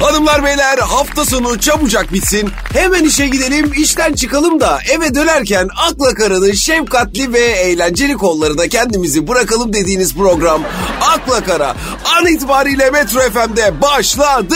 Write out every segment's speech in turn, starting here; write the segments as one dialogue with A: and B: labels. A: Hanımlar beyler hafta sonu çabucak bitsin. Hemen işe gidelim, işten çıkalım da eve dönerken akla karının şefkatli ve eğlenceli kollarına kendimizi bırakalım dediğiniz program Akla Kara an itibariyle Metro FM'de başladı.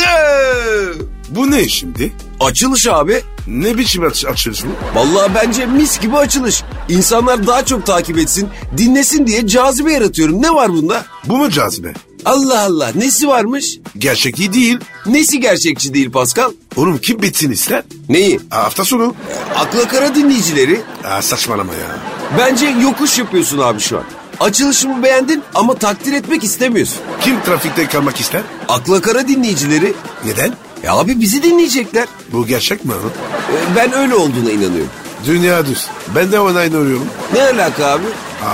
B: Bu ne şimdi?
A: Açılış abi.
B: Ne biçim aç açıyorsun?
A: Vallahi bence mis gibi açılış. İnsanlar daha çok takip etsin, dinlesin diye cazibe yaratıyorum. Ne var bunda?
B: Bu mu cazibe?
A: Allah Allah nesi varmış?
B: Gerçekliği değil.
A: Nesi gerçekçi değil Pascal?
B: Oğlum kim bitsin ister?
A: Neyi?
B: Ha, Hafta sonu.
A: Akla kara dinleyicileri.
B: Ha, saçmalama ya.
A: Bence yokuş yapıyorsun abi şu an. Açılışımı beğendin ama takdir etmek istemiyorsun.
B: Kim trafikte kalmak ister?
A: Akla kara dinleyicileri.
B: Neden?
A: Ya abi bizi dinleyecekler.
B: Bu gerçek mi oğlum?
A: Ee, Ben öyle olduğuna inanıyorum.
B: Dünya düz. Ben de ona inanıyorum.
A: Ne alaka abi?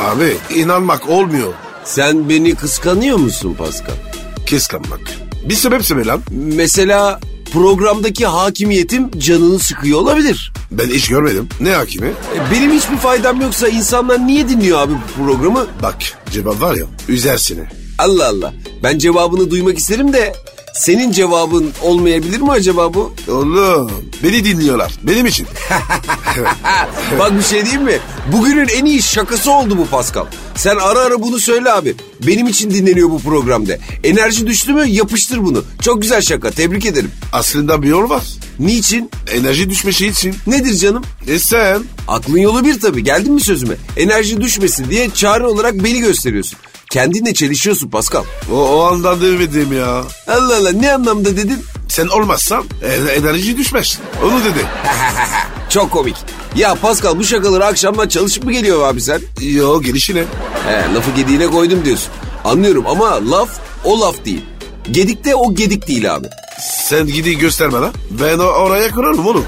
B: Abi inanmak olmuyor.
A: Sen beni kıskanıyor musun Pascal?
B: Kıskanmak. Bir sebepse mi lan?
A: Mesela programdaki hakimiyetim canını sıkıyor olabilir.
B: Ben hiç görmedim. Ne hakimi?
A: E, Benim hiçbir faydam yoksa insanlar niye dinliyor abi bu programı?
B: Bak cevap var ya üzer seni.
A: Allah Allah. Ben cevabını duymak isterim de senin cevabın olmayabilir mi acaba bu?
B: Oğlum beni dinliyorlar. Benim için.
A: Ha, bak bir şey diyeyim mi? Bugünün en iyi şakası oldu bu Pascal. Sen ara ara bunu söyle abi. Benim için dinleniyor bu programda. Enerji düştü mü yapıştır bunu. Çok güzel şaka tebrik ederim.
B: Aslında bir yol var.
A: Niçin?
B: Enerji düşmesi için.
A: Nedir canım?
B: E sen
A: Aklın yolu bir tabii. Geldin mi sözüme? Enerji düşmesin diye çare olarak beni gösteriyorsun. Kendinle çelişiyorsun Pascal.
B: o, o anda demedim ya.
A: Allah Allah ne anlamda dedin?
B: Sen olmazsan en- enerji düşmez. Onu dedi.
A: Çok komik. Ya Pascal bu şakaları akşamdan çalışıp mı geliyor abi sen?
B: Yo gelişine.
A: He, lafı gediğine koydum diyorsun. Anlıyorum ama laf o laf değil. Gedik de o gedik değil abi.
B: Sen gidi gösterme lan. Ben o- oraya kurarım oğlum.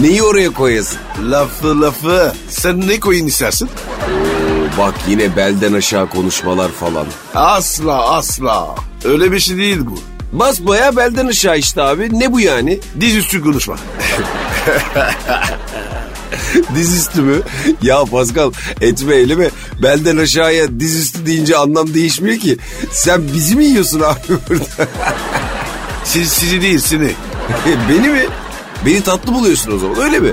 A: Neyi oraya koyasın?
B: lafı lafı. Sen ne koyun istersin?
A: Oo, bak yine belden aşağı konuşmalar falan.
B: Asla asla. Öyle bir şey değil bu.
A: Basbaya belden aşağı işte abi. Ne bu yani?
B: Diz üstü konuşma.
A: Dizüstü mü? Ya Pascal etme elime. Belden aşağıya dizüstü deyince anlam değişmiyor ki. Sen bizi mi yiyorsun abi burada?
B: Siz, sizi değil seni.
A: Beni mi? Beni tatlı buluyorsun o zaman öyle mi?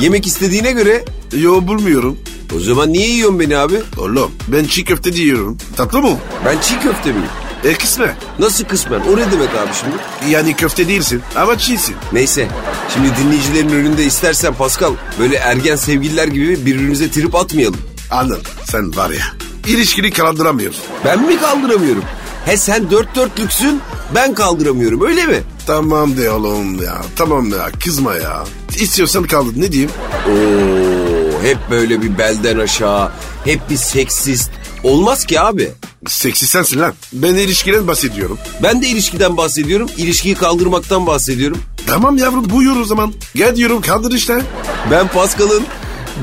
A: Yemek istediğine göre
B: Yo bulmuyorum.
A: o zaman niye yiyorsun beni abi?
B: Oğlum ben çiğ köfte diyorum. Tatlı mı?
A: Ben çiğ köfte miyim?
B: E kısmen.
A: Nasıl kısmen? O ne demek abi şimdi?
B: Yani köfte değilsin ama çiğsin.
A: Neyse. Şimdi dinleyicilerin önünde istersen Pascal böyle ergen sevgililer gibi birbirimize trip atmayalım.
B: Anladım. Sen var ya. İlişkini kalandıramıyoruz.
A: Ben mi kaldıramıyorum? He sen dört dörtlüksün ben kaldıramıyorum öyle mi?
B: Tamam de oğlum ya. Tamam ya. Kızma ya. İstiyorsan kaldır. Ne diyeyim?
A: Oo, hep böyle bir belden aşağı, hep bir seksist. Olmaz ki abi.
B: Seksi sensin lan. Ben ilişkiden bahsediyorum.
A: Ben de ilişkiden bahsediyorum, ilişkiyi kaldırmaktan bahsediyorum.
B: Tamam yavrum buyur o zaman. Gel diyorum kaldır işte.
A: Ben Pascal'ın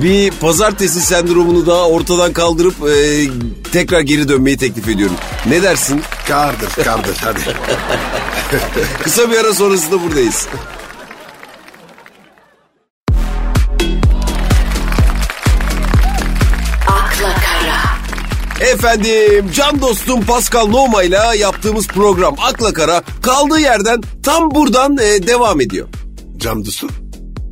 A: bir pazartesi sendromunu daha ortadan kaldırıp e, tekrar geri dönmeyi teklif ediyorum. Ne dersin?
B: Kaldır kaldır hadi.
A: Kısa bir ara sonrasında buradayız.
C: akla kara,
A: Efendim can dostum Pascal Noma ile yaptığımız program Akla Kara kaldığı yerden tam buradan e, devam ediyor.
B: Cam dostum.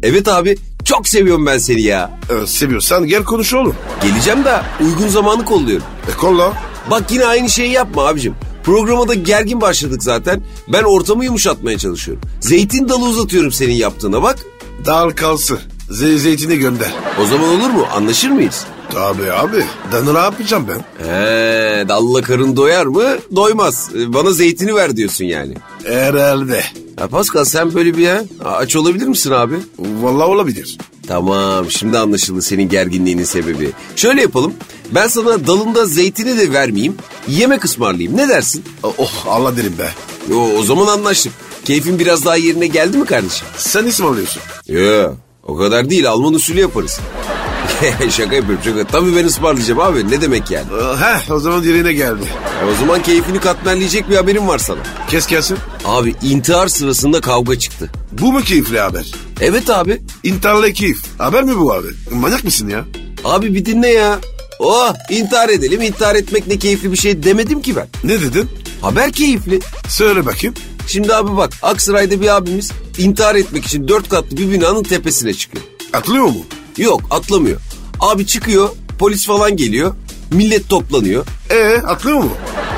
A: Evet abi çok seviyorum ben seni ya.
B: e, seviyorsan gel konuş oğlum.
A: Geleceğim de uygun zamanı kolluyorum.
B: E kolla.
A: Bak yine aynı şeyi yapma abicim. Programa da gergin başladık zaten. Ben ortamı yumuşatmaya çalışıyorum. Zeytin dalı uzatıyorum senin yaptığına bak.
B: Dal kalsın. Ze- zeytini gönder.
A: O zaman olur mu? Anlaşır mıyız?
B: Tabii abi. Danı ne yapacağım ben?
A: He, dalla karın doyar mı? Doymaz. Ee, Bana zeytini ver diyorsun yani.
B: Herhalde.
A: Ya Pascal sen böyle bir ya aç olabilir misin abi?
B: Vallahi olabilir.
A: Tamam şimdi anlaşıldı senin gerginliğinin sebebi. Şöyle yapalım. Ben sana dalında zeytini de vermeyeyim. Yemek ısmarlayayım. Ne dersin?
B: Oh Allah derim be.
A: Yo, o zaman anlaştık. Keyfin biraz daha yerine geldi mi kardeşim?
B: Sen isim alıyorsun.
A: Yo, o kadar değil. Alman usulü yaparız. şaka yapıyorum şaka. Tabii ben ısmarlayacağım abi. Ne demek yani?
B: E, Heh o zaman yerine geldi.
A: E, o zaman keyfini katmerleyecek bir haberim var sana.
B: Kes gelsin.
A: Abi intihar sırasında kavga çıktı.
B: Bu mu keyifli haber?
A: Evet abi.
B: İntiharla keyif. Haber mi bu abi? Manyak mısın ya?
A: Abi bir dinle ya. Oh intihar edelim. intihar etmek ne keyifli bir şey demedim ki ben.
B: Ne dedin?
A: Haber keyifli.
B: Söyle bakayım.
A: Şimdi abi bak Aksaray'da bir abimiz intihar etmek için dört katlı bir binanın tepesine çıkıyor.
B: Atlıyor mu?
A: Yok atlamıyor. Abi çıkıyor polis falan geliyor. Millet toplanıyor.
B: Ee atlıyor mu?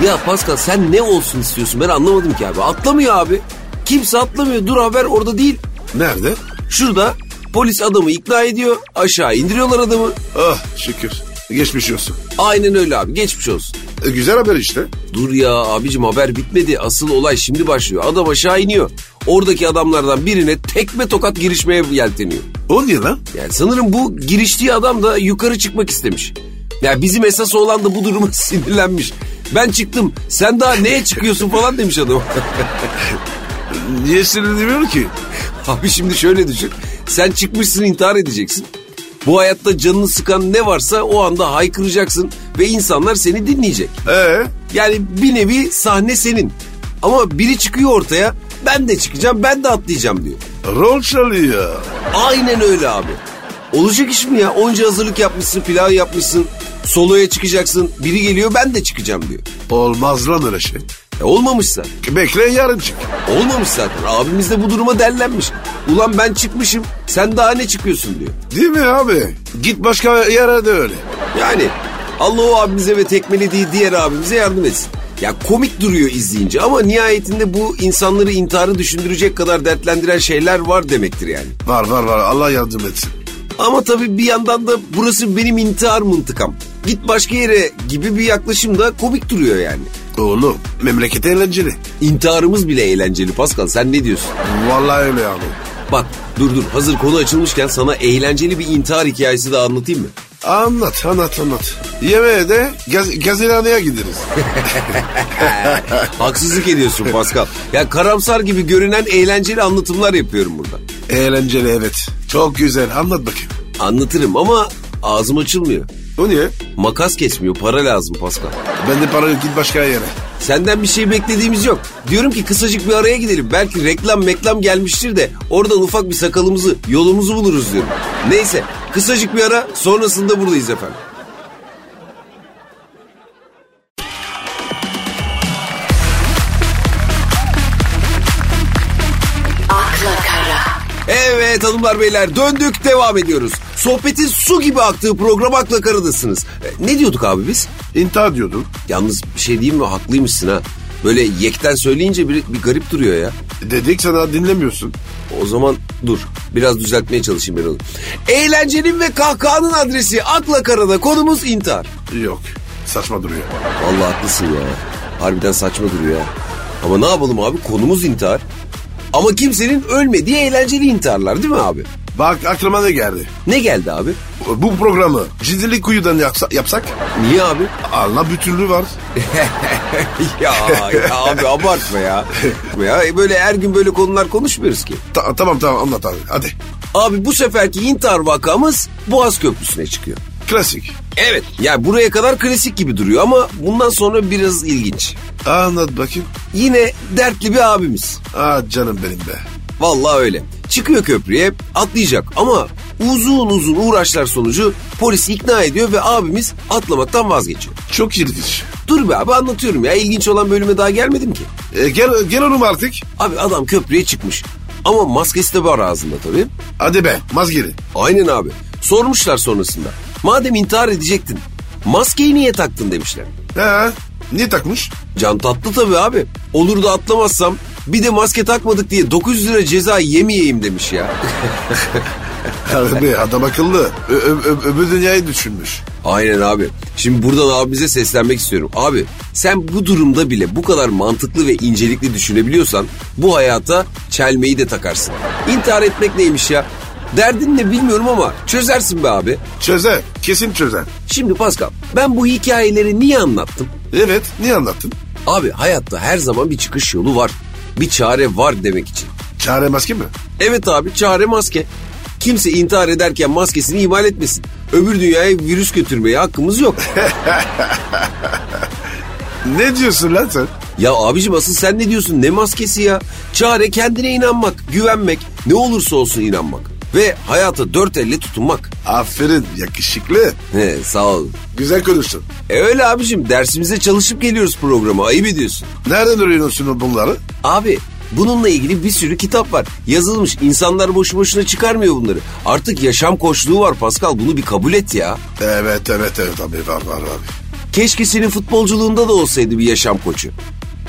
A: Ya Pascal sen ne olsun istiyorsun ben anlamadım ki abi. Atlamıyor abi. Kimse atlamıyor dur haber orada değil.
B: Nerede?
A: Şurada polis adamı ikna ediyor aşağı indiriyorlar adamı.
B: Ah şükür. Geçmiş olsun.
A: Aynen öyle abi geçmiş olsun.
B: E, güzel haber işte.
A: Dur ya abicim haber bitmedi. Asıl olay şimdi başlıyor. Adam aşağı iniyor. Oradaki adamlardan birine tekme tokat girişmeye yelteniyor.
B: O niye lan?
A: Yani sanırım bu giriştiği adam da yukarı çıkmak istemiş. Ya bizim esas olan da bu duruma sinirlenmiş. Ben çıktım. Sen daha neye çıkıyorsun falan demiş adam.
B: Niye sinirleniyor ki?
A: Abi şimdi şöyle düşün. Sen çıkmışsın intihar edeceksin. Bu hayatta canını sıkan ne varsa o anda haykıracaksın ve insanlar seni dinleyecek.
B: Ee
A: Yani bir nevi sahne senin. Ama biri çıkıyor ortaya ben de çıkacağım ben de atlayacağım diyor.
B: rol çalıyor.
A: Aynen öyle abi. Olacak iş mi ya? Onca hazırlık yapmışsın, pilav yapmışsın, soloya çıkacaksın. Biri geliyor ben de çıkacağım diyor.
B: Olmaz lan öyle şey.
A: E olmamışsa.
B: Bekle yarın çık.
A: Olmamış zaten. Abimiz de bu duruma dellenmiş. Ulan ben çıkmışım sen daha ne çıkıyorsun diyor.
B: Değil mi abi? Git başka yere de öyle.
A: Yani Allah o abimize ve tekmelediği diğer abimize yardım etsin. Ya komik duruyor izleyince ama nihayetinde bu insanları intiharı düşündürecek kadar dertlendiren şeyler var demektir yani.
B: Var var var Allah yardım etsin.
A: Ama tabii bir yandan da burası benim intihar mıntıkam. Git başka yere gibi bir yaklaşım da komik duruyor yani.
B: Oğlum memleket eğlenceli.
A: İntiharımız bile eğlenceli Pascal sen ne diyorsun?
B: Vallahi öyle abi.
A: Bak dur dur hazır konu açılmışken sana eğlenceli bir intihar hikayesi de anlatayım mı?
B: Anlat anlat anlat. Yemeğe de gaz gazihaneye gideriz.
A: Haksızlık ediyorsun Pascal. Ya karamsar gibi görünen eğlenceli anlatımlar yapıyorum burada.
B: eğlenceli evet. Çok güzel anlat bakayım.
A: Anlatırım ama ağzım açılmıyor.
B: O niye?
A: Makas kesmiyor para lazım Pascal.
B: Ben de parayı git başka yere.
A: Senden bir şey beklediğimiz yok. Diyorum ki kısacık bir araya gidelim. Belki reklam meklam gelmiştir de oradan ufak bir sakalımızı yolumuzu buluruz diyorum. Neyse kısacık bir ara sonrasında buradayız efendim.
C: akla kara,
A: Evet hanımlar beyler döndük devam ediyoruz. Sohbetin su gibi aktığı program Akla Kara'dasınız. E, Ne diyorduk abi biz?
B: İntihar diyordun.
A: Yalnız bir şey diyeyim mi haklıymışsın ha. Böyle yekten söyleyince bir, bir garip duruyor ya.
B: Dedik sana dinlemiyorsun.
A: O zaman dur. Biraz düzeltmeye çalışayım ben onu. Eğlencenin ve kahkahanın adresi Akla Kara'da konumuz intihar.
B: Yok saçma duruyor.
A: Vallahi haklısın ya. Harbiden saçma duruyor ya. Ama ne yapalım abi konumuz intihar. Ama kimsenin ölmediği eğlenceli intiharlar değil mi abi?
B: Bak aklıma ne geldi?
A: Ne geldi abi?
B: Bu programı ciddilik kuyudan yapsa- yapsak
A: Niye abi?
B: Allah bütünlüğü var.
A: ya, ya abi abartma ya. ya. Böyle her gün böyle konular konuşmuyoruz ki.
B: Ta- tamam tamam anlat abi hadi.
A: Abi bu seferki intihar vakamız Boğaz Köprüsü'ne çıkıyor.
B: Klasik.
A: Evet. Yani buraya kadar klasik gibi duruyor ama bundan sonra biraz ilginç.
B: Anlat bakayım.
A: Yine dertli bir abimiz.
B: Ah canım benim be.
A: Vallahi öyle. Çıkıyor köprüye atlayacak ama uzun uzun uğraşlar sonucu polis ikna ediyor ve abimiz atlamaktan vazgeçiyor.
B: Çok ilginç.
A: Dur be abi anlatıyorum ya ilginç olan bölüme daha gelmedim ki.
B: E, gel, gel oğlum artık.
A: Abi adam köprüye çıkmış ama maskesi de var ağzında tabii.
B: Hadi be mazgiri.
A: Aynen abi. Sormuşlar sonrasında. Madem intihar edecektin maskeyi niye taktın demişler.
B: He, niye takmış?
A: Can tatlı tabii abi. Olur da atlamazsam bir de maske takmadık diye 900 lira ceza yemeyeyim demiş ya.
B: Harbi adam akıllı. Ö- ö- ö- öbür dünyayı düşünmüş.
A: Aynen abi. Şimdi buradan abimize seslenmek istiyorum. Abi sen bu durumda bile bu kadar mantıklı ve incelikli düşünebiliyorsan bu hayata çelmeyi de takarsın. İntihar etmek neymiş ya? Derdin ne bilmiyorum ama çözersin be abi.
B: Çözer. Kesin çözer.
A: Şimdi Pascal ben bu hikayeleri niye anlattım?
B: Evet niye anlattın?
A: Abi hayatta her zaman bir çıkış yolu var. Bir çare var demek için.
B: Çare maske mi?
A: Evet abi çare maske. Kimse intihar ederken maskesini imal etmesin. Öbür dünyaya virüs götürmeye hakkımız yok.
B: Ne diyorsun lan sen?
A: ya abicim asıl sen ne diyorsun ne maskesi ya? Çare kendine inanmak, güvenmek, ne olursa olsun inanmak. Ve hayata dört elle tutunmak.
B: Aferin yakışıklı.
A: He, sağ ol.
B: Güzel konuştun.
A: E öyle abicim dersimize çalışıp geliyoruz programa ayıp ediyorsun.
B: Nereden öğreniyorsun bunları?
A: Abi Bununla ilgili bir sürü kitap var. Yazılmış. İnsanlar boşu boşuna çıkarmıyor bunları. Artık yaşam koçluğu var Pascal. Bunu bir kabul et ya.
B: Evet evet evet abi var var abi.
A: Keşke senin futbolculuğunda da olsaydı bir yaşam koçu.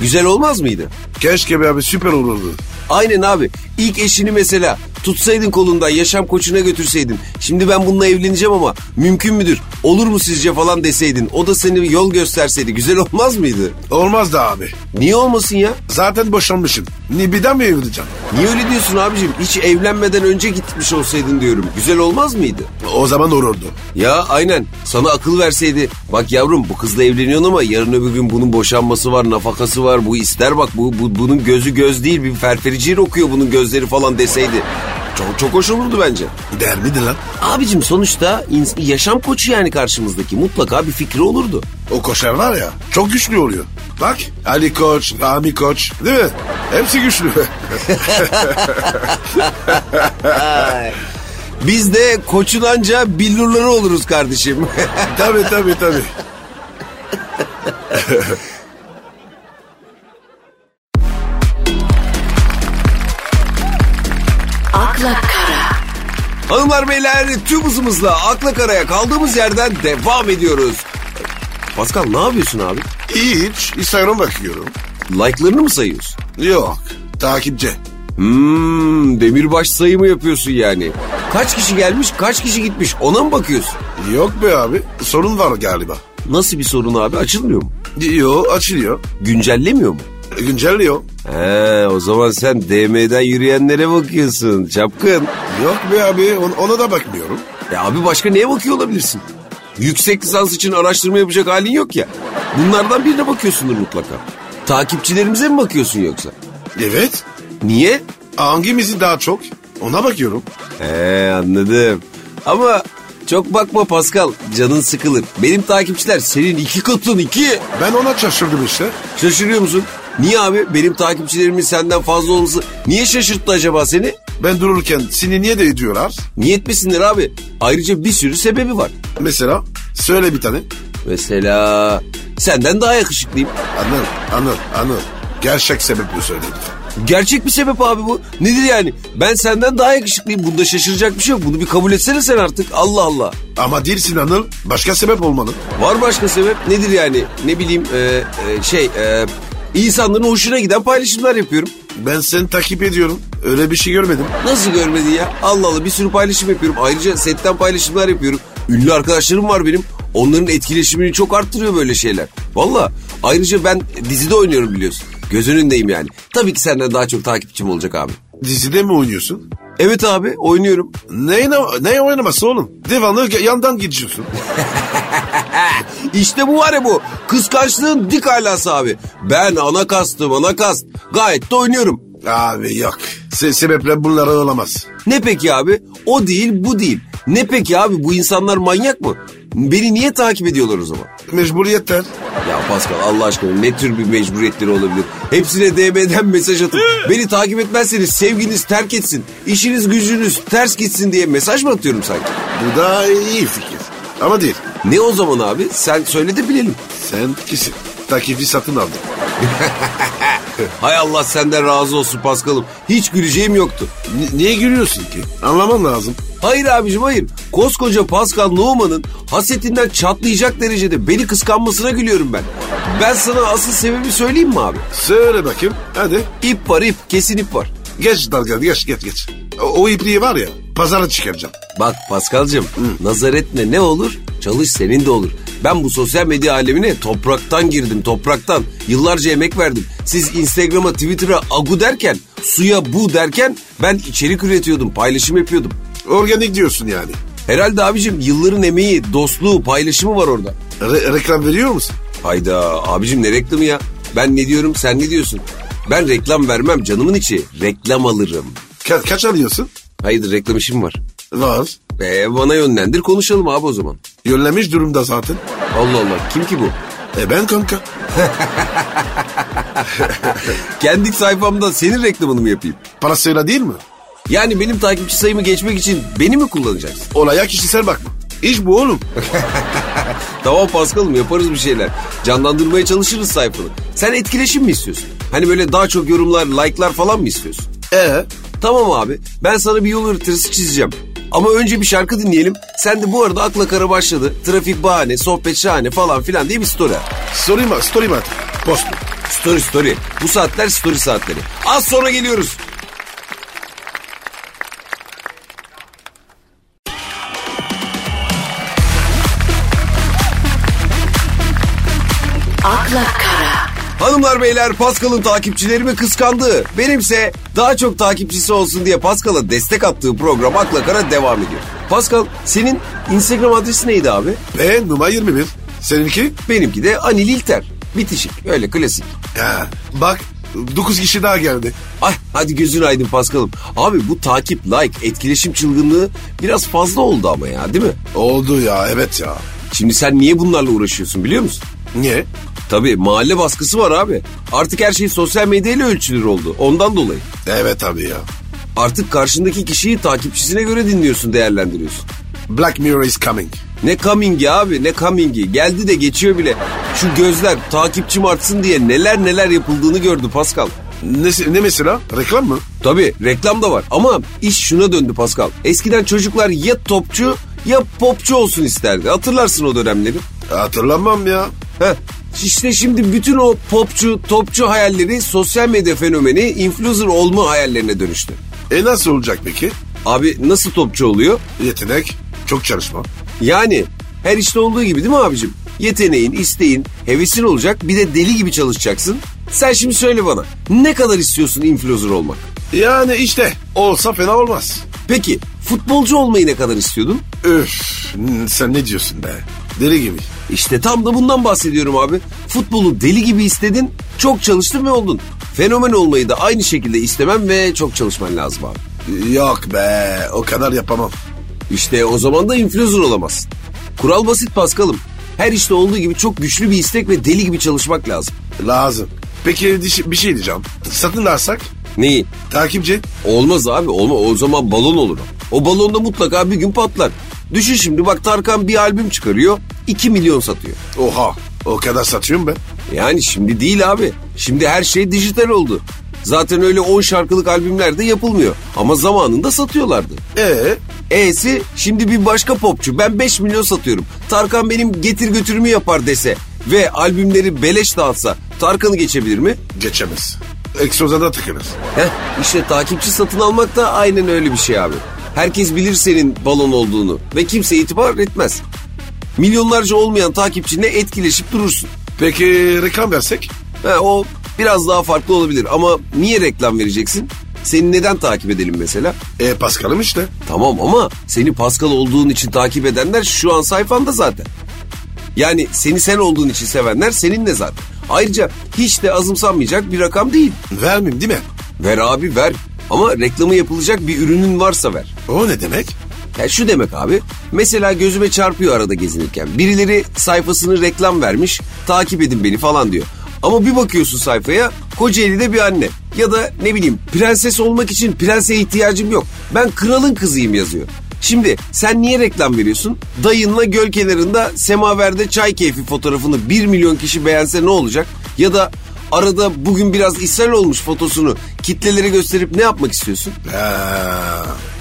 A: Güzel olmaz mıydı?
B: Keşke be abi süper olurdu.
A: Aynen abi. İlk eşini mesela tutsaydın kolundan yaşam koçuna götürseydin. Şimdi ben bununla evleneceğim ama mümkün müdür? Olur mu sizce falan deseydin. O da seni bir yol gösterseydi güzel olmaz mıydı?
B: Olmaz da abi.
A: Niye olmasın ya?
B: Zaten boşanmışım. Ni bir daha mı evleneceğim?
A: Niye öyle diyorsun abicim? Hiç evlenmeden önce gitmiş olsaydın diyorum. Güzel olmaz mıydı?
B: O zaman olurdu.
A: Ya aynen sana akıl verseydi. Bak yavrum bu kızla evleniyorsun ama yarın öbür gün bunun boşanması var, nafakası var. Bu ister bak bu, bu- bunun gözü göz değil bir ferfericiyle okuyor bunun gözleri falan deseydi. Çok çok hoş olurdu bence.
B: Değer miydi lan?
A: Abicim sonuçta ins- yaşam koçu yani karşımızdaki mutlaka bir fikri olurdu.
B: O koçlar var ya çok güçlü oluyor. Bak Ali Koç, Rami Koç değil mi? Hepsi güçlü.
A: Biz de koçun anca billurları oluruz kardeşim.
B: tabii tabii tabii.
C: Akla kara.
A: Hanımlar beyler tüm hızımızla akla karaya kaldığımız yerden devam ediyoruz. Pascal ne yapıyorsun abi?
B: Hiç Instagram bakıyorum.
A: Like'larını mı sayıyorsun?
B: Yok takipçi.
A: Hmm, demirbaş sayımı yapıyorsun yani. Kaç kişi gelmiş, kaç kişi gitmiş ona mı bakıyorsun?
B: Yok be abi sorun var galiba.
A: Nasıl bir sorun abi açılmıyor mu?
B: Yo açılıyor.
A: Güncellemiyor mu?
B: Güncelliyor.
A: He, o zaman sen DM'den yürüyenlere bakıyorsun çapkın.
B: Yok be abi on- ona da bakmıyorum.
A: E abi başka neye bakıyor olabilirsin? Yüksek lisans için araştırma yapacak halin yok ya. Bunlardan birine bakıyorsundur mutlaka. Takipçilerimize mi bakıyorsun yoksa?
B: Evet.
A: Niye?
B: Hangimizin daha çok? Ona bakıyorum.
A: He anladım. Ama çok bakma Pascal canın sıkılır. Benim takipçiler senin iki katın iki.
B: Ben ona şaşırdım işte.
A: Şaşırıyor musun? Niye abi? Benim takipçilerimin senden fazla olması niye şaşırttı acaba seni?
B: Ben dururken seni niye de ediyorlar?
A: Niye etmesinler abi? Ayrıca bir sürü sebebi var.
B: Mesela söyle bir tane.
A: Mesela senden daha yakışıklıyım.
B: Anıl, Anıl, Anıl. Gerçek sebebi söyle lütfen.
A: Gerçek bir sebep abi bu. Nedir yani? Ben senden daha yakışıklıyım. Bunda şaşıracak bir şey yok. Bunu bir kabul etsene sen artık. Allah Allah.
B: Ama değilsin Anıl. Başka sebep olmalı.
A: Var başka sebep. Nedir yani? Ne bileyim e, e, şey e, insanların hoşuna giden paylaşımlar yapıyorum.
B: Ben seni takip ediyorum. Öyle bir şey görmedim.
A: Nasıl görmedi ya? Allah Allah bir sürü paylaşım yapıyorum. Ayrıca setten paylaşımlar yapıyorum. Ünlü arkadaşlarım var benim. Onların etkileşimini çok arttırıyor böyle şeyler. Valla. Ayrıca ben dizide oynuyorum biliyorsun. Göz önündeyim yani. Tabii ki senden daha çok takipçim olacak abi.
B: Dizide mi oynuyorsun?
A: Evet abi oynuyorum.
B: Ne, ne oynaması oğlum? Devamlı ge- yandan geçiyorsun.
A: İşte bu var ya bu. Kıskançlığın dik alası abi. Ben ana kastım ana kast. Gayet de oynuyorum.
B: Abi yok. Se sebeple bunlara olamaz.
A: Ne peki abi? O değil bu değil. Ne peki abi bu insanlar manyak mı? Beni niye takip ediyorlar o zaman?
B: Mecburiyetten.
A: Ya Pascal Allah aşkına ne tür bir mecburiyetleri olabilir? Hepsine DM'den mesaj atıp beni takip etmezseniz sevginiz terk etsin, işiniz gücünüz ters gitsin diye mesaj mı atıyorum sanki?
B: Bu da iyi fikir. Ama değil.
A: Ne o zaman abi? Sen söyle de bilelim.
B: Sen kesin. Takibi satın aldın.
A: Hay Allah senden razı olsun Pascal'ım. Hiç güleceğim yoktu.
B: Ni- niye gülüyorsun ki? Anlaman lazım.
A: Hayır abicim hayır. Koskoca Pascal Numan'ın hasetinden çatlayacak derecede beni kıskanmasına gülüyorum ben. Ben sana asıl sebebi söyleyeyim mi abi?
B: Söyle bakayım. Hadi.
A: İp var ip, kesin ip var.
B: Geç dalga geç geç geç. O, o ipliği var ya pazara çıkaracağım.
A: Bak Paskal'cığım nazar etme ne olur? Çalış senin de olur. Ben bu sosyal medya alemine topraktan girdim topraktan. Yıllarca emek verdim. Siz Instagram'a Twitter'a agu derken suya bu derken ben içerik üretiyordum paylaşım yapıyordum.
B: Organik diyorsun yani.
A: Herhalde abicim yılların emeği dostluğu paylaşımı var orada.
B: Re- reklam veriyor musun?
A: Hayda abicim ne reklamı ya? Ben ne diyorum sen ne diyorsun? Ben reklam vermem canımın içi. Reklam alırım.
B: Ka- kaç alıyorsun?
A: Hayırdır reklam işim var.
B: Var.
A: E, bana yönlendir konuşalım abi o zaman.
B: Yönlemiş durumda zaten.
A: Allah Allah kim ki bu?
B: E ben kanka.
A: Kendi sayfamda senin reklamını mı yapayım?
B: Parasıyla değil mi?
A: Yani benim takipçi sayımı geçmek için beni mi kullanacaksın?
B: Olaya kişisel bakma. İş bu oğlum.
A: Tamam Paskal'ım yaparız bir şeyler. Canlandırmaya çalışırız sayfanı. Sen etkileşim mi istiyorsun? Hani böyle daha çok yorumlar, like'lar falan mı istiyorsun?
B: Ee,
A: Tamam abi ben sana bir yol haritası çizeceğim. Ama önce bir şarkı dinleyelim. Sen de bu arada akla kara başladı. Trafik bahane, sohbet şahane falan filan diye bir story at.
B: story mi? Story mi? atayım? Post. mu?
A: Story story. Bu saatler story saatleri. Az sonra geliyoruz.
C: akla kara,
A: Hanımlar beyler Pascal'ın takipçilerimi kıskandı. Benimse daha çok takipçisi olsun diye Pascal'a destek attığı program Akla Kara devam ediyor. Pascal senin Instagram adresi neydi abi?
B: Ben numara 21. Seninki?
A: Benimki de Anil İlter. Bitişik öyle klasik.
B: Ha, bak 9 kişi daha geldi.
A: Ay Ah, hadi gözün aydın Pascal'ım. Abi bu takip, like, etkileşim çılgınlığı biraz fazla oldu ama ya değil mi?
B: Oldu ya evet ya.
A: Şimdi sen niye bunlarla uğraşıyorsun biliyor musun?
B: Niye?
A: Tabii mahalle baskısı var abi. Artık her şey sosyal medyayla ölçülür oldu. Ondan dolayı.
B: Evet abi ya.
A: Artık karşındaki kişiyi takipçisine göre dinliyorsun, değerlendiriyorsun.
B: Black Mirror is coming.
A: Ne coming'i abi ne coming'i. Geldi de geçiyor bile. Şu gözler takipçim artsın diye neler neler yapıldığını gördü Pascal.
B: Ne, ne mesela? Reklam mı?
A: Tabii reklam da var ama iş şuna döndü Pascal. Eskiden çocuklar ya topçu ya popçu olsun isterdi. Hatırlarsın o dönemleri.
B: Hatırlamam ya.
A: Heh. İşte şimdi bütün o popçu, topçu hayalleri sosyal medya fenomeni influencer olma hayallerine dönüştü.
B: E nasıl olacak peki?
A: Abi nasıl topçu oluyor?
B: Yetenek, çok çalışma.
A: Yani her işte olduğu gibi değil mi abicim? Yeteneğin, isteğin, hevesin olacak bir de deli gibi çalışacaksın. Sen şimdi söyle bana ne kadar istiyorsun influencer olmak?
B: Yani işte olsa fena olmaz.
A: Peki futbolcu olmayı ne kadar istiyordun?
B: Üf n- sen ne diyorsun be? Deli gibi.
A: İşte tam da bundan bahsediyorum abi. Futbolu deli gibi istedin, çok çalıştın ve oldun. Fenomen olmayı da aynı şekilde istemem ve çok çalışman lazım abi.
B: Yok be o kadar yapamam.
A: İşte o zaman da influencer olamazsın. Kural basit Paskal'ım. Her işte olduğu gibi çok güçlü bir istek ve deli gibi çalışmak lazım.
B: Lazım. Peki diş- bir şey diyeceğim. Satın alsak
A: Neyi?
B: takipçi
A: Olmaz abi olma o zaman balon olur. o. O balon da mutlaka bir gün patlar. Düşün şimdi bak Tarkan bir albüm çıkarıyor 2 milyon satıyor.
B: oha o kadar satıyorum ben.
A: Yani şimdi değil abi. Şimdi her şey dijital oldu. Zaten öyle 10 şarkılık albümler de yapılmıyor. Ama zamanında satıyorlardı.
B: E
A: E'si şimdi bir başka popçu. Ben 5 milyon satıyorum. Tarkan benim getir götürümü yapar dese ve albümleri beleş dağıtsa Tarkan'ı geçebilir mi?
B: geçemez. Eksozada tıkınız.
A: Heh, işte takipçi satın almak da aynen öyle bir şey abi. Herkes bilir senin balon olduğunu ve kimse itibar etmez. Milyonlarca olmayan takipçinle etkileşip durursun.
B: Peki reklam versek?
A: Ha, o biraz daha farklı olabilir ama niye reklam vereceksin? Seni neden takip edelim mesela?
B: E Paskal'ım işte.
A: Tamam ama seni Pascal olduğun için takip edenler şu an sayfanda zaten. Yani seni sen olduğun için sevenler seninle zaten. Ayrıca hiç de azımsanmayacak bir rakam değil.
B: Vermeyeyim değil mi?
A: Ver abi ver ama reklamı yapılacak bir ürünün varsa ver.
B: O ne demek?
A: Ya şu demek abi. Mesela gözüme çarpıyor arada gezinirken. Birileri sayfasını reklam vermiş. Takip edin beni falan diyor. Ama bir bakıyorsun sayfaya Kocaeli'de bir anne. Ya da ne bileyim prenses olmak için prense ihtiyacım yok. Ben kralın kızıyım yazıyor. Şimdi sen niye reklam veriyorsun? Dayınla göl kenarında semaverde çay keyfi fotoğrafını 1 milyon kişi beğense ne olacak? Ya da arada bugün biraz ishal olmuş fotosunu kitlelere gösterip ne yapmak istiyorsun?
B: Ha,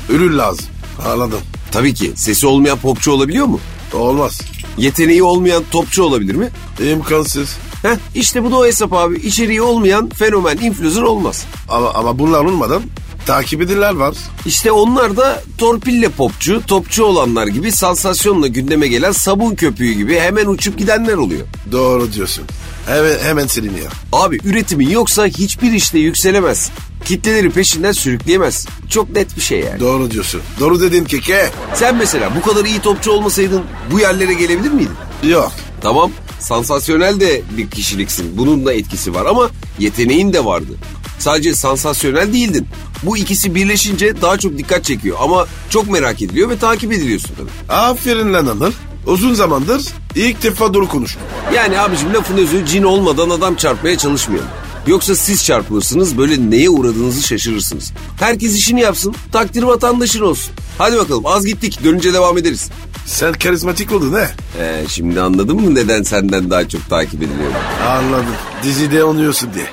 B: ürün lazım. Anladım.
A: Tabii ki sesi olmayan popçu olabiliyor mu?
B: Olmaz.
A: Yeteneği olmayan topçu olabilir mi?
B: İmkansız.
A: Heh, işte bu da o hesap abi. İçeriği olmayan fenomen influencer olmaz.
B: Ama, ama bunlar olmadan takip edilenler var.
A: İşte onlar da torpille popçu, topçu olanlar gibi sansasyonla gündeme gelen sabun köpüğü gibi hemen uçup gidenler oluyor.
B: Doğru diyorsun. Hemen, hemen siliniyor.
A: Abi üretimin yoksa hiçbir işte yükselemez. Kitleleri peşinden sürükleyemez. Çok net bir şey yani.
B: Doğru diyorsun. Doğru dedin keke.
A: Sen mesela bu kadar iyi topçu olmasaydın bu yerlere gelebilir miydin?
B: Yok.
A: Tamam sansasyonel de bir kişiliksin. Bunun da etkisi var ama yeteneğin de vardı. Sadece sansasyonel değildin. Bu ikisi birleşince daha çok dikkat çekiyor ama çok merak ediliyor ve takip ediliyorsun tabii.
B: Aferin lan Anıl. Uzun zamandır ilk defa doğru konuştum.
A: Yani abicim lafın özü cin olmadan adam çarpmaya çalışmıyor. Yoksa siz çarpılırsınız böyle neye uğradığınızı şaşırırsınız. Herkes işini yapsın takdir vatandaşın olsun. Hadi bakalım az gittik dönünce devam ederiz.
B: Sen karizmatik oldun he.
A: Ee, şimdi anladın mı neden senden daha çok takip ediliyorum?
B: Anladım. Dizide oynuyorsun diye.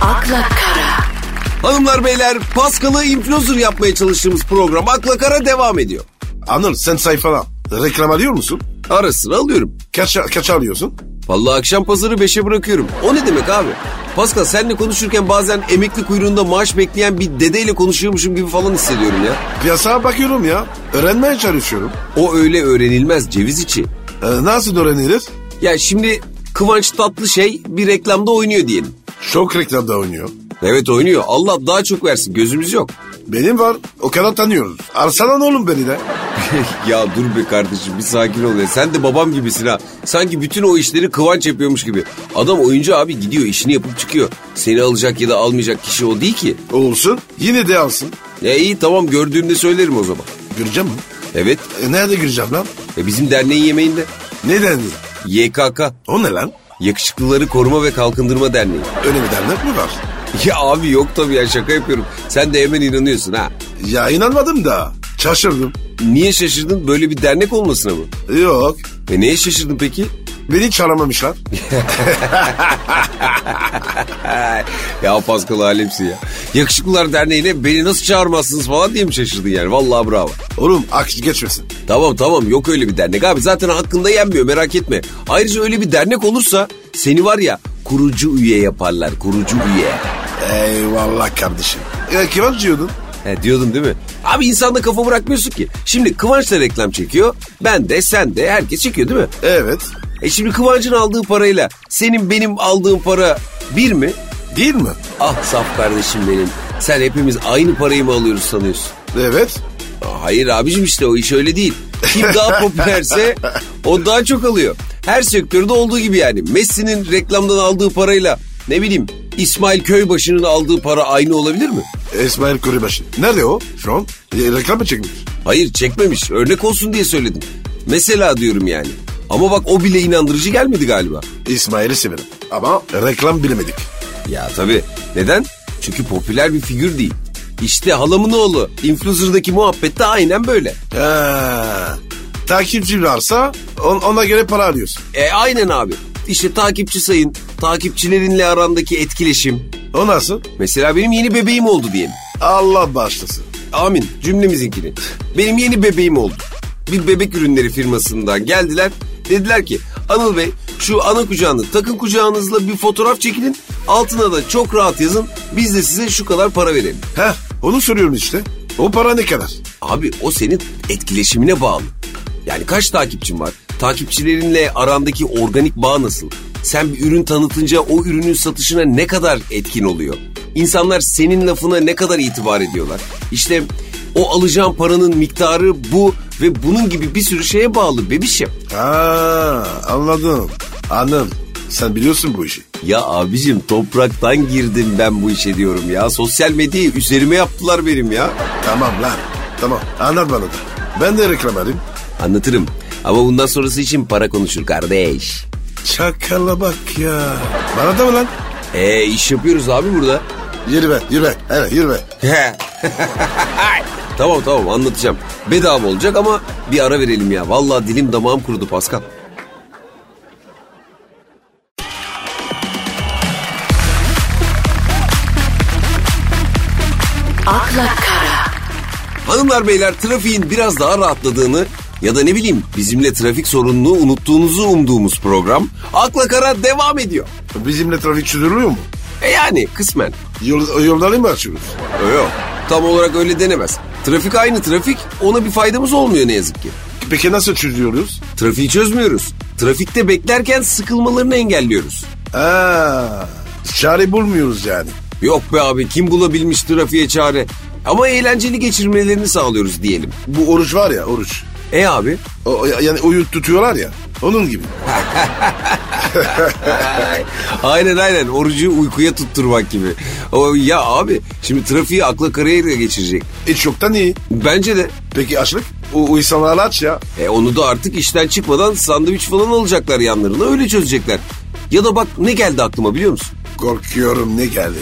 C: akla kara,
A: Hanımlar beyler Paskal'ı influencer yapmaya çalıştığımız program Akla Kara devam ediyor.
B: Anıl sen sayfana reklam alıyor musun?
A: Ara sıra alıyorum.
B: Kaç, kaç alıyorsun?
A: Vallahi akşam pazarı 5'e bırakıyorum. O ne demek abi? Pascal senle konuşurken bazen emekli kuyruğunda maaş bekleyen bir dedeyle konuşuyormuşum gibi falan hissediyorum ya.
B: Piyasaya bakıyorum ya. Öğrenmeye çalışıyorum.
A: O öyle öğrenilmez ceviz içi.
B: Ee, nasıl öğreniriz?
A: Ya şimdi Kıvanç Tatlışey bir reklamda oynuyor diyelim.
B: Çok reklamda oynuyor.
A: Evet oynuyor. Allah daha çok versin. Gözümüz yok.
B: Benim var. O kadar tanıyoruz. Arsalan oğlum beni de.
A: ya dur be kardeşim bir sakin ol ya. Sen de babam gibisin ha. Sanki bütün o işleri Kıvanç yapıyormuş gibi. Adam oyuncu abi gidiyor işini yapıp çıkıyor. Seni alacak ya da almayacak kişi o değil ki.
B: Olsun. Yine de alsın.
A: Ya iyi tamam gördüğümde söylerim o zaman.
B: Gireceğim mi?
A: Evet
B: E, nerede gireceğim lan?
A: e bizim derneğin yemeğinde.
B: Neden?
A: YKK
B: O ne lan?
A: Yakışıklıları Koruma ve Kalkındırma Derneği.
B: Öyle bir dernek mi var?
A: Ya abi yok tabii ya şaka yapıyorum. Sen de hemen inanıyorsun ha.
B: Ya inanmadım da. Şaşırdım.
A: Niye şaşırdın böyle bir dernek olmasına mı?
B: Yok.
A: E neye şaşırdın peki?
B: Beni çağıramamışlar.
A: Ya Pascal alemsin ya. Yakışıklılar Derneği'ne beni nasıl çağırmazsınız falan diye mi şaşırdın yani? Vallahi bravo.
B: Oğlum aksi geçmesin.
A: Tamam tamam yok öyle bir dernek abi zaten hakkında yenmiyor merak etme. Ayrıca öyle bir dernek olursa seni var ya kurucu üye yaparlar kurucu üye.
B: Eyvallah kardeşim. Ya Kıvanç diyordun.
A: He, diyordum değil mi? Abi insanda kafa bırakmıyorsun ki. Şimdi Kıvanç da reklam çekiyor. Ben de sen de herkes çekiyor değil mi?
B: Evet.
A: E şimdi Kıvanç'ın aldığı parayla senin benim aldığım para bir mi?
B: Değil mi?
A: Ah saf kardeşim benim. Sen hepimiz aynı parayı mı alıyoruz sanıyorsun?
B: Evet.
A: Hayır abicim işte o iş öyle değil. Kim daha popülerse o daha çok alıyor. Her sektörde olduğu gibi yani. Messi'nin reklamdan aldığı parayla ne bileyim İsmail Köybaşı'nın aldığı para aynı olabilir mi?
B: İsmail Kuribaşı. Nerede o şu an? E, reklam mı çekmiş?
A: Hayır çekmemiş. Örnek olsun diye söyledim. Mesela diyorum yani. Ama bak o bile inandırıcı gelmedi galiba.
B: İsmail'i severim. Ama reklam bilemedik.
A: Ya tabii. Neden? Çünkü popüler bir figür değil. İşte halamın oğlu. Influencer'daki muhabbet de aynen böyle.
B: Ha, takipçi varsa on- ona göre para alıyorsun.
A: E aynen abi. İşte takipçi sayın, takipçilerinle arandaki etkileşim.
B: O nasıl?
A: Mesela benim yeni bebeğim oldu diyelim.
B: Allah bağışlasın.
A: Amin cümlemizinkini. Benim yeni bebeğim oldu. Bir bebek ürünleri firmasından geldiler. Dediler ki Anıl Bey şu ana kucağını takın kucağınızla bir fotoğraf çekilin. Altına da çok rahat yazın. Biz de size şu kadar para verelim.
B: Heh, onu soruyorum işte. O para ne kadar?
A: Abi o senin etkileşimine bağlı. Yani kaç takipçin var? Takipçilerinle arandaki organik bağ nasıl? Sen bir ürün tanıtınca o ürünün satışına ne kadar etkin oluyor? İnsanlar senin lafına ne kadar itibar ediyorlar? İşte o alacağın paranın miktarı bu ve bunun gibi bir sürü şeye bağlı bebişim.
B: Ha, anladım. Anladım. Sen biliyorsun bu işi.
A: Ya abicim topraktan girdim ben bu işe diyorum ya. Sosyal medyayı üzerime yaptılar benim ya.
B: Tamam lan. Tamam. Anlat bana da. Ben de reklam alayım.
A: Anlatırım ama bundan sonrası için para konuşur kardeş.
B: Çakala bak ya. Bana da mı lan?
A: E iş yapıyoruz abi burada.
B: Yürü be, yürü be. Evet, yürü be.
A: tamam tamam anlatacağım. Bedava olacak ama bir ara verelim ya. Vallahi dilim damağım kurudu Pascal.
C: akla kara,
A: Hanımlar beyler trafiğin biraz daha rahatladığını ya da ne bileyim bizimle trafik sorununu unuttuğunuzu umduğumuz program Akla Kara devam ediyor.
B: Bizimle trafik çözülüyor mu?
A: E yani kısmen.
B: Yol, yolları mı açıyoruz?
A: E Yok tam olarak öyle denemez. Trafik aynı trafik ona bir faydamız olmuyor ne yazık ki.
B: Peki nasıl çözüyoruz?
A: Trafiği çözmüyoruz. Trafikte beklerken sıkılmalarını engelliyoruz.
B: Aa, çare bulmuyoruz yani.
A: Yok be abi kim bulabilmiş trafiğe çare. Ama eğlenceli geçirmelerini sağlıyoruz diyelim.
B: Bu oruç var ya oruç.
A: E abi
B: O, o- yani uyut tutuyorlar ya. Onun gibi.
A: aynen aynen orucu uykuya tutturmak gibi. O, ya abi şimdi trafiği akla karaya da geçirecek.
B: E çoktan iyi.
A: Bence de
B: Peki açlık? O, o insanlar aç ya.
A: E onu da artık işten çıkmadan sandviç falan alacaklar yanlarına öyle çözecekler. Ya da bak ne geldi aklıma biliyor musun?
B: Korkuyorum ne geldi.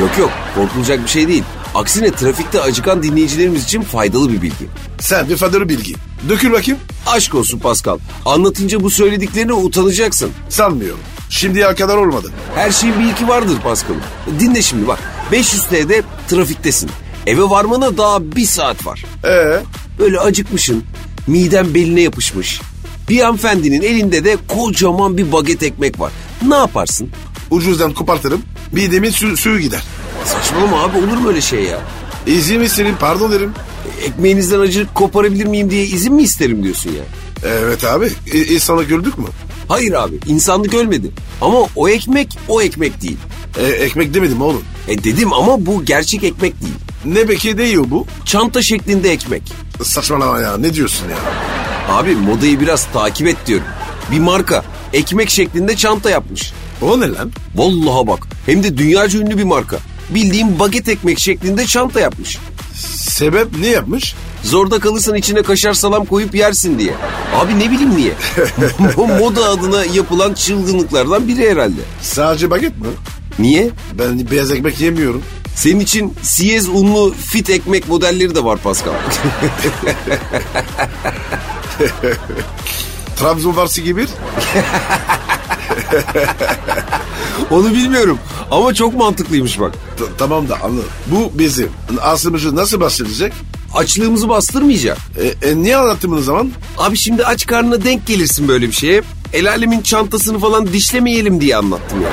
A: Yok yok korkulacak bir şey değil. Aksine trafikte acıkan dinleyicilerimiz için faydalı bir bilgi.
B: Sen bir fadır bilgi. Dökül bakayım.
A: Aşk olsun Pascal. Anlatınca bu söylediklerine utanacaksın.
B: Sanmıyorum. Şimdiye kadar olmadı.
A: Her şeyin bir iki vardır Pascal. Dinle şimdi bak. 500 TL'de trafiktesin. Eve varmana daha bir saat var.
B: Ee,
A: Böyle acıkmışsın. Miden beline yapışmış. Bir hanımefendinin elinde de kocaman bir baget ekmek var. Ne yaparsın?
B: ucuzdan kopartırım. Bir demin sü- suyu gider.
A: Saçmalama abi olur mu öyle şey ya?
B: İzin mi senin pardon derim.
A: Ekmeğinizden acılık koparabilir miyim diye izin mi isterim diyorsun ya?
B: Evet abi. E, insanı gördük mü?
A: Hayır abi insanlık ölmedi. Ama o ekmek o ekmek değil.
B: E, ekmek demedim oğlum.
A: E dedim ama bu gerçek ekmek değil.
B: Ne peki ne yiyor bu?
A: Çanta şeklinde ekmek.
B: Saçmalama ya ne diyorsun ya?
A: Abi modayı biraz takip et diyorum. Bir marka ekmek şeklinde çanta yapmış.
B: O ne lan?
A: Vallaha bak hem de dünyaca ünlü bir marka. Bildiğim baget ekmek şeklinde çanta yapmış.
B: Sebep ne yapmış?
A: Zorda kalırsan içine kaşar salam koyup yersin diye. Abi ne bileyim niye. Bu moda adına yapılan çılgınlıklardan biri herhalde.
B: Sadece baget mi?
A: Niye?
B: Ben beyaz ekmek yemiyorum.
A: Senin için siyez unlu fit ekmek modelleri de var Pascal.
B: Trabzon varsı gibi.
A: Onu bilmiyorum ama çok mantıklıymış bak.
B: T- tamam da anladım. Bu bizim aslımızı nasıl bahsedecek?
A: Açlığımızı bastırmayacak.
B: E, e, niye anlattın bunu zaman?
A: Abi şimdi aç karnına denk gelirsin böyle bir şeye. El alemin çantasını falan dişlemeyelim diye anlattım ya.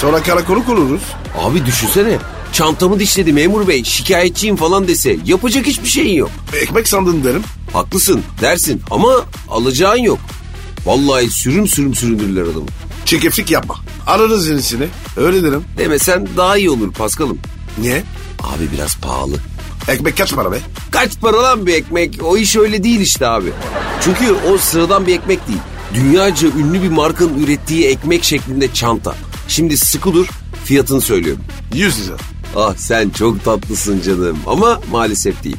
B: Sonra karakoluk oluruz.
A: Abi düşünsene. Çantamı dişledi memur bey şikayetçiyim falan dese yapacak hiçbir şeyin yok.
B: Ekmek sandın derim.
A: Haklısın dersin ama alacağın yok. Vallahi sürüm sürüm süründürürler adamı.
B: Çekeflik yapma. Ararız yenisini. Öyle derim.
A: Demesen daha iyi olur Paskal'ım.
B: Niye?
A: Abi biraz pahalı.
B: Ekmek kaç para be?
A: Kaç para lan bir ekmek? O iş öyle değil işte abi. Çünkü o sıradan bir ekmek değil. Dünyaca ünlü bir markanın ürettiği ekmek şeklinde çanta. Şimdi sıkı dur fiyatını söylüyorum.
B: 100 lira.
A: Ah sen çok tatlısın canım ama maalesef değil.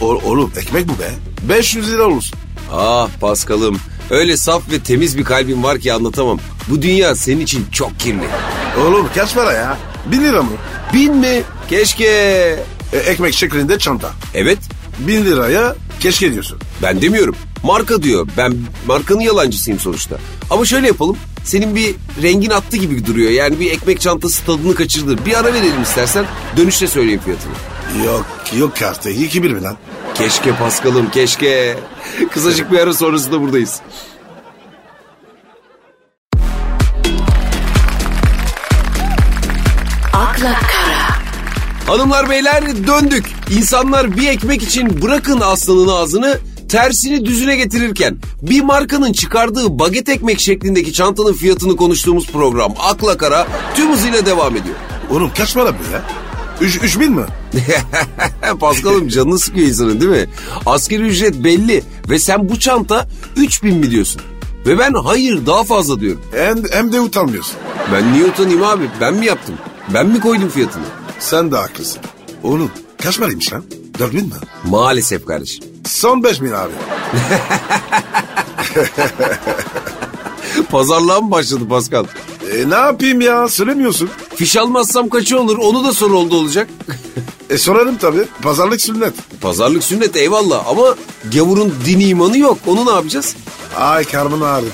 B: O, oğlum ekmek bu be. 500 lira olursun.
A: Ah Paskal'ım öyle saf ve temiz bir kalbin var ki anlatamam. Bu dünya senin için çok kirli.
B: Oğlum kaç para ya? 1000 lira mı?
A: Bin mi? Keşke.
B: E, ekmek şeklinde çanta.
A: Evet
B: 1000 liraya keşke diyorsun.
A: ben demiyorum. Marka diyor. Ben markanın yalancısıyım sonuçta. Ama şöyle yapalım. Senin bir rengin attı gibi duruyor. Yani bir ekmek çantası tadını kaçırdı. Bir ara verelim istersen. Dönüşte söyleyeyim fiyatını.
B: Yok yok artık. 2000 mi lan?
A: Keşke Paskal'ım keşke. Kısacık bir ara sonrasında buradayız.
C: akla kara,
A: Hanımlar beyler döndük. İnsanlar bir ekmek için bırakın aslanın ağzını tersini düzüne getirirken bir markanın çıkardığı baget ekmek şeklindeki çantanın fiyatını konuştuğumuz program Akla Kara tüm hızıyla devam ediyor.
B: Oğlum kaç para bu ya? 3000 mi?
A: Paskal'ım canını sıkıyor insanın değil mi? Asgari ücret belli ve sen bu çanta 3000 mi diyorsun? Ve ben hayır daha fazla diyorum.
B: Hem, hem de utanmıyorsun.
A: Ben niye utanayım abi? Ben mi yaptım? Ben mi koydum fiyatını?
B: Sen de haklısın. Oğlum kaç paraymış lan? 4000 mi?
A: Maalesef kardeşim.
B: Son 5000 abi.
A: Pazarlığa mı başladı Paskal?
B: E, ne yapayım ya? Söylemiyorsun.
A: Fiş almazsam kaçı olur onu da soru oldu olacak.
B: E sorarım tabii. Pazarlık sünnet.
A: Pazarlık sünnet eyvallah ama gavurun dini imanı yok. Onu ne yapacağız?
B: Ay karnım ağrıdı.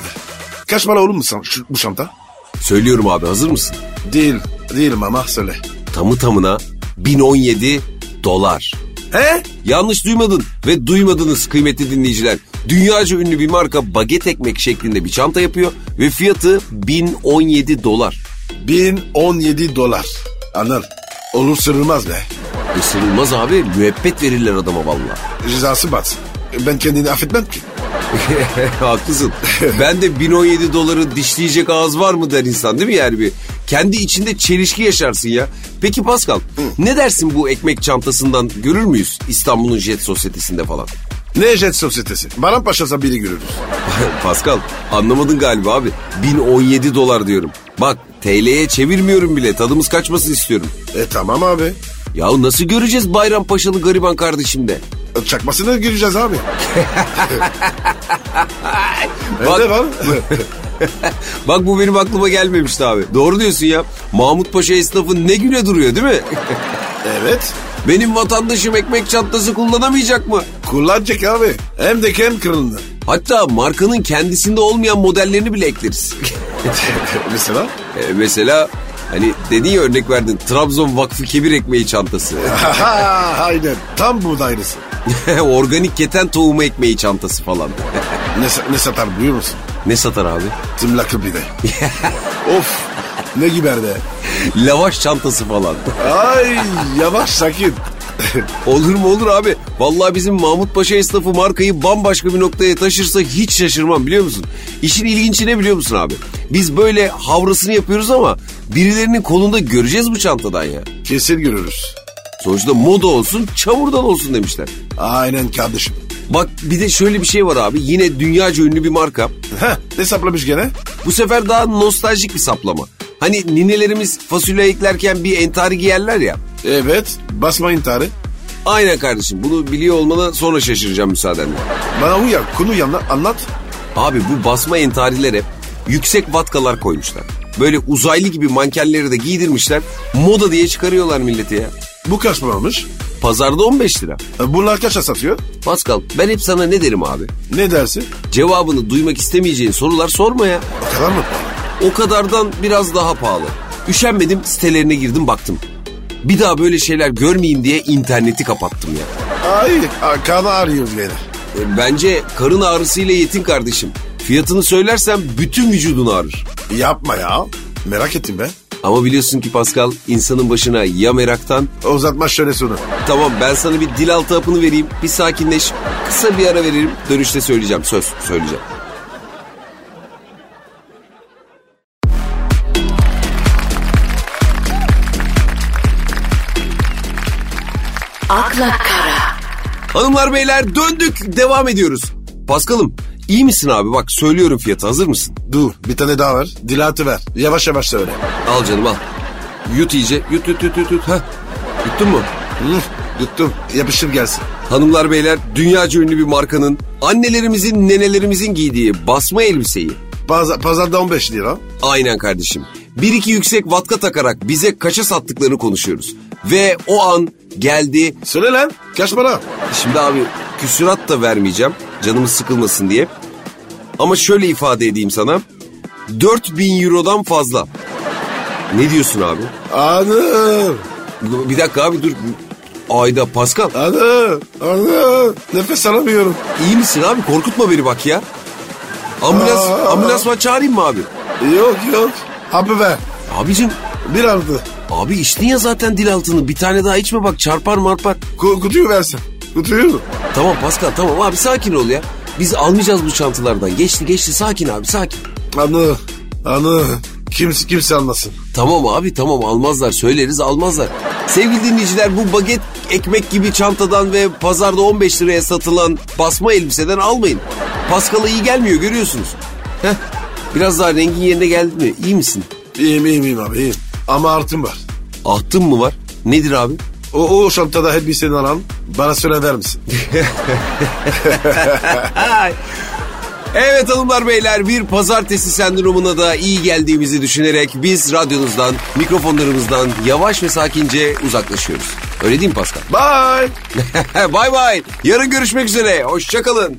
B: Kaç para olur mu san- şu- bu şanta?
A: Söylüyorum abi hazır mısın?
B: Değil. Değil mama söyle.
A: Tamı tamına 1017 dolar.
B: He?
A: Yanlış duymadın ve duymadınız kıymetli dinleyiciler. Dünyaca ünlü bir marka baget ekmek şeklinde bir çanta yapıyor ve fiyatı 1017 dolar.
B: 1017 dolar. Anıl. Olur sırılmaz be.
A: Isırılmaz abi müebbet verirler adama vallahi.
B: Cezası batsın. E, Ben kendini affetmem ki.
A: Haklısın. Ben de 1017 doları dişleyecek ağız var mı der insan değil mi yani bir? Kendi içinde çelişki yaşarsın ya. Peki Pascal ne dersin bu ekmek çantasından görür müyüz İstanbul'un jet sosyetesinde falan?
B: Nejet Sosyetesi. Baran Paşa'sa biri görürüz.
A: Pascal anlamadın galiba abi. 1017 dolar diyorum. Bak TL'ye çevirmiyorum bile tadımız kaçmasın istiyorum.
B: E tamam abi.
A: Ya nasıl göreceğiz Bayrampaşalı gariban kardeşim de?
B: Çakmasına gireceğiz abi.
A: Bak-
B: Evde var.
A: Bak bu benim aklıma gelmemişti abi. Doğru diyorsun ya. Mahmut Paşa esnafı ne güne duruyor değil mi?
B: evet.
A: benim vatandaşım ekmek çantası kullanamayacak mı?
B: Kullanacak abi. Hem de kem kırıldı.
A: Hatta markanın kendisinde olmayan modellerini bile ekleriz.
B: Mesela?
A: E, mesela hani dediğin ya, örnek verdin Trabzon Vakfı Kebir ekmeği çantası.
B: Aynen. Tam buğdaylısı.
A: Organik keten tohumu ekmeği çantası falan.
B: Ne, sa- ne satar biliyor musun?
A: ne satar abi?
B: Tımlaklı bir de. of. Ne giber be.
A: Lavaş çantası falan.
B: Ay yavaş sakin.
A: olur mu olur abi. Vallahi bizim Mahmut Paşa esnafı markayı bambaşka bir noktaya taşırsa hiç şaşırmam biliyor musun? İşin ilginci ne biliyor musun abi? Biz böyle havrasını yapıyoruz ama birilerinin kolunda göreceğiz bu çantadan ya.
B: Kesin görürüz.
A: Sonuçta moda olsun çamurdan olsun demişler.
B: Aynen kardeşim.
A: Bak bir de şöyle bir şey var abi. Yine dünyaca ünlü bir marka.
B: Heh, ne saplamış gene?
A: Bu sefer daha nostaljik bir saplama. Hani ninelerimiz fasulye eklerken bir entari giyerler ya.
B: Evet. Basma intiharı.
A: Aynen kardeşim bunu biliyor olmana sonra şaşıracağım müsaadenle.
B: Bana uyan. Konu yanına anlat.
A: Abi bu basma entarilere yüksek vatkalar koymuşlar. Böyle uzaylı gibi mankenleri de giydirmişler. Moda diye çıkarıyorlar milleti ya.
B: Bu kaç para olmuş?
A: Pazarda 15 lira.
B: E, Bunlar kaça satıyor?
A: Pascal ben hep sana ne derim abi?
B: Ne dersin?
A: Cevabını duymak istemeyeceğin sorular sorma ya.
B: O kadar mı?
A: O kadardan biraz daha pahalı. Üşenmedim sitelerine girdim baktım. Bir daha böyle şeyler görmeyeyim diye interneti kapattım ya.
B: Ay a- kan ağrıyor beni.
A: E, Bence karın ağrısıyla yetin kardeşim. Fiyatını söylersem bütün vücudun ağrır.
B: Yapma ya. Merak ettim ben.
A: Ama biliyorsun ki Pascal insanın başına ya meraktan...
B: Uzatma şöyle sonu.
A: Tamam ben sana bir dil altı hapını vereyim. Bir sakinleş. Kısa bir ara veririm. Dönüşte söyleyeceğim. Söz söyleyeceğim.
C: akla kara,
A: Hanımlar beyler döndük. Devam ediyoruz. Paskal'ım iyi misin abi? Bak söylüyorum fiyatı. Hazır mısın?
B: Dur bir tane daha ver. Dilatı ver. Yavaş yavaş söyle.
A: Al canım al. Yut iyice. Yut yut yut yut. yut. Heh. Yuttun mu?
B: Hı, yuttum. Yapışır gelsin.
A: Hanımlar beyler dünyaca ünlü bir markanın annelerimizin nenelerimizin giydiği basma elbiseyi
B: Paz- pazarda 15 lira.
A: Aynen kardeşim. Bir iki yüksek vatka takarak bize kaça sattıklarını konuşuyoruz. Ve o an geldi.
B: Söyle lan. Kaç para?
A: Şimdi abi küsurat da vermeyeceğim. Canımız sıkılmasın diye. Ama şöyle ifade edeyim sana. 4000 eurodan fazla. Ne diyorsun abi?
B: Anır.
A: Bir dakika abi dur. Ayda Pascal
B: Anır. Anır. Nefes alamıyorum.
A: iyi misin abi? Korkutma beni bak ya. Ambulans,
B: Aa.
A: ambulans var çağırayım mı abi?
B: Yok yok. Abi ver.
A: Abicim
B: Bir artı.
A: abi içtin ya zaten dil altını. Bir tane daha içme bak çarpar marpar.
B: Ku- kutuyu versin. Kutuyu.
A: Tamam Pascal tamam abi sakin ol ya. Biz almayacağız bu çantalardan. Geçti geçti sakin abi sakin.
B: Anı. Anı. Kimse kimse almasın.
A: Tamam abi tamam almazlar söyleriz almazlar. Sevgili dinleyiciler bu baget ekmek gibi çantadan ve pazarda 15 liraya satılan basma elbiseden almayın. Pascal'a iyi gelmiyor görüyorsunuz. Heh, biraz daha rengin yerine geldi mi? İyi misin?
B: İyiyim iyiyim iyiyim abi iyiyim. Ama artım var.
A: Ahtın mı var? Nedir abi?
B: O, o çantada elbiseni alan bana söyle ver misin?
A: Evet hanımlar beyler bir pazartesi sendromuna da iyi geldiğimizi düşünerek biz radyonuzdan, mikrofonlarımızdan yavaş ve sakince uzaklaşıyoruz. Öyle değil mi Pascal?
B: Bye.
A: bay bay. Yarın görüşmek üzere. Hoşçakalın.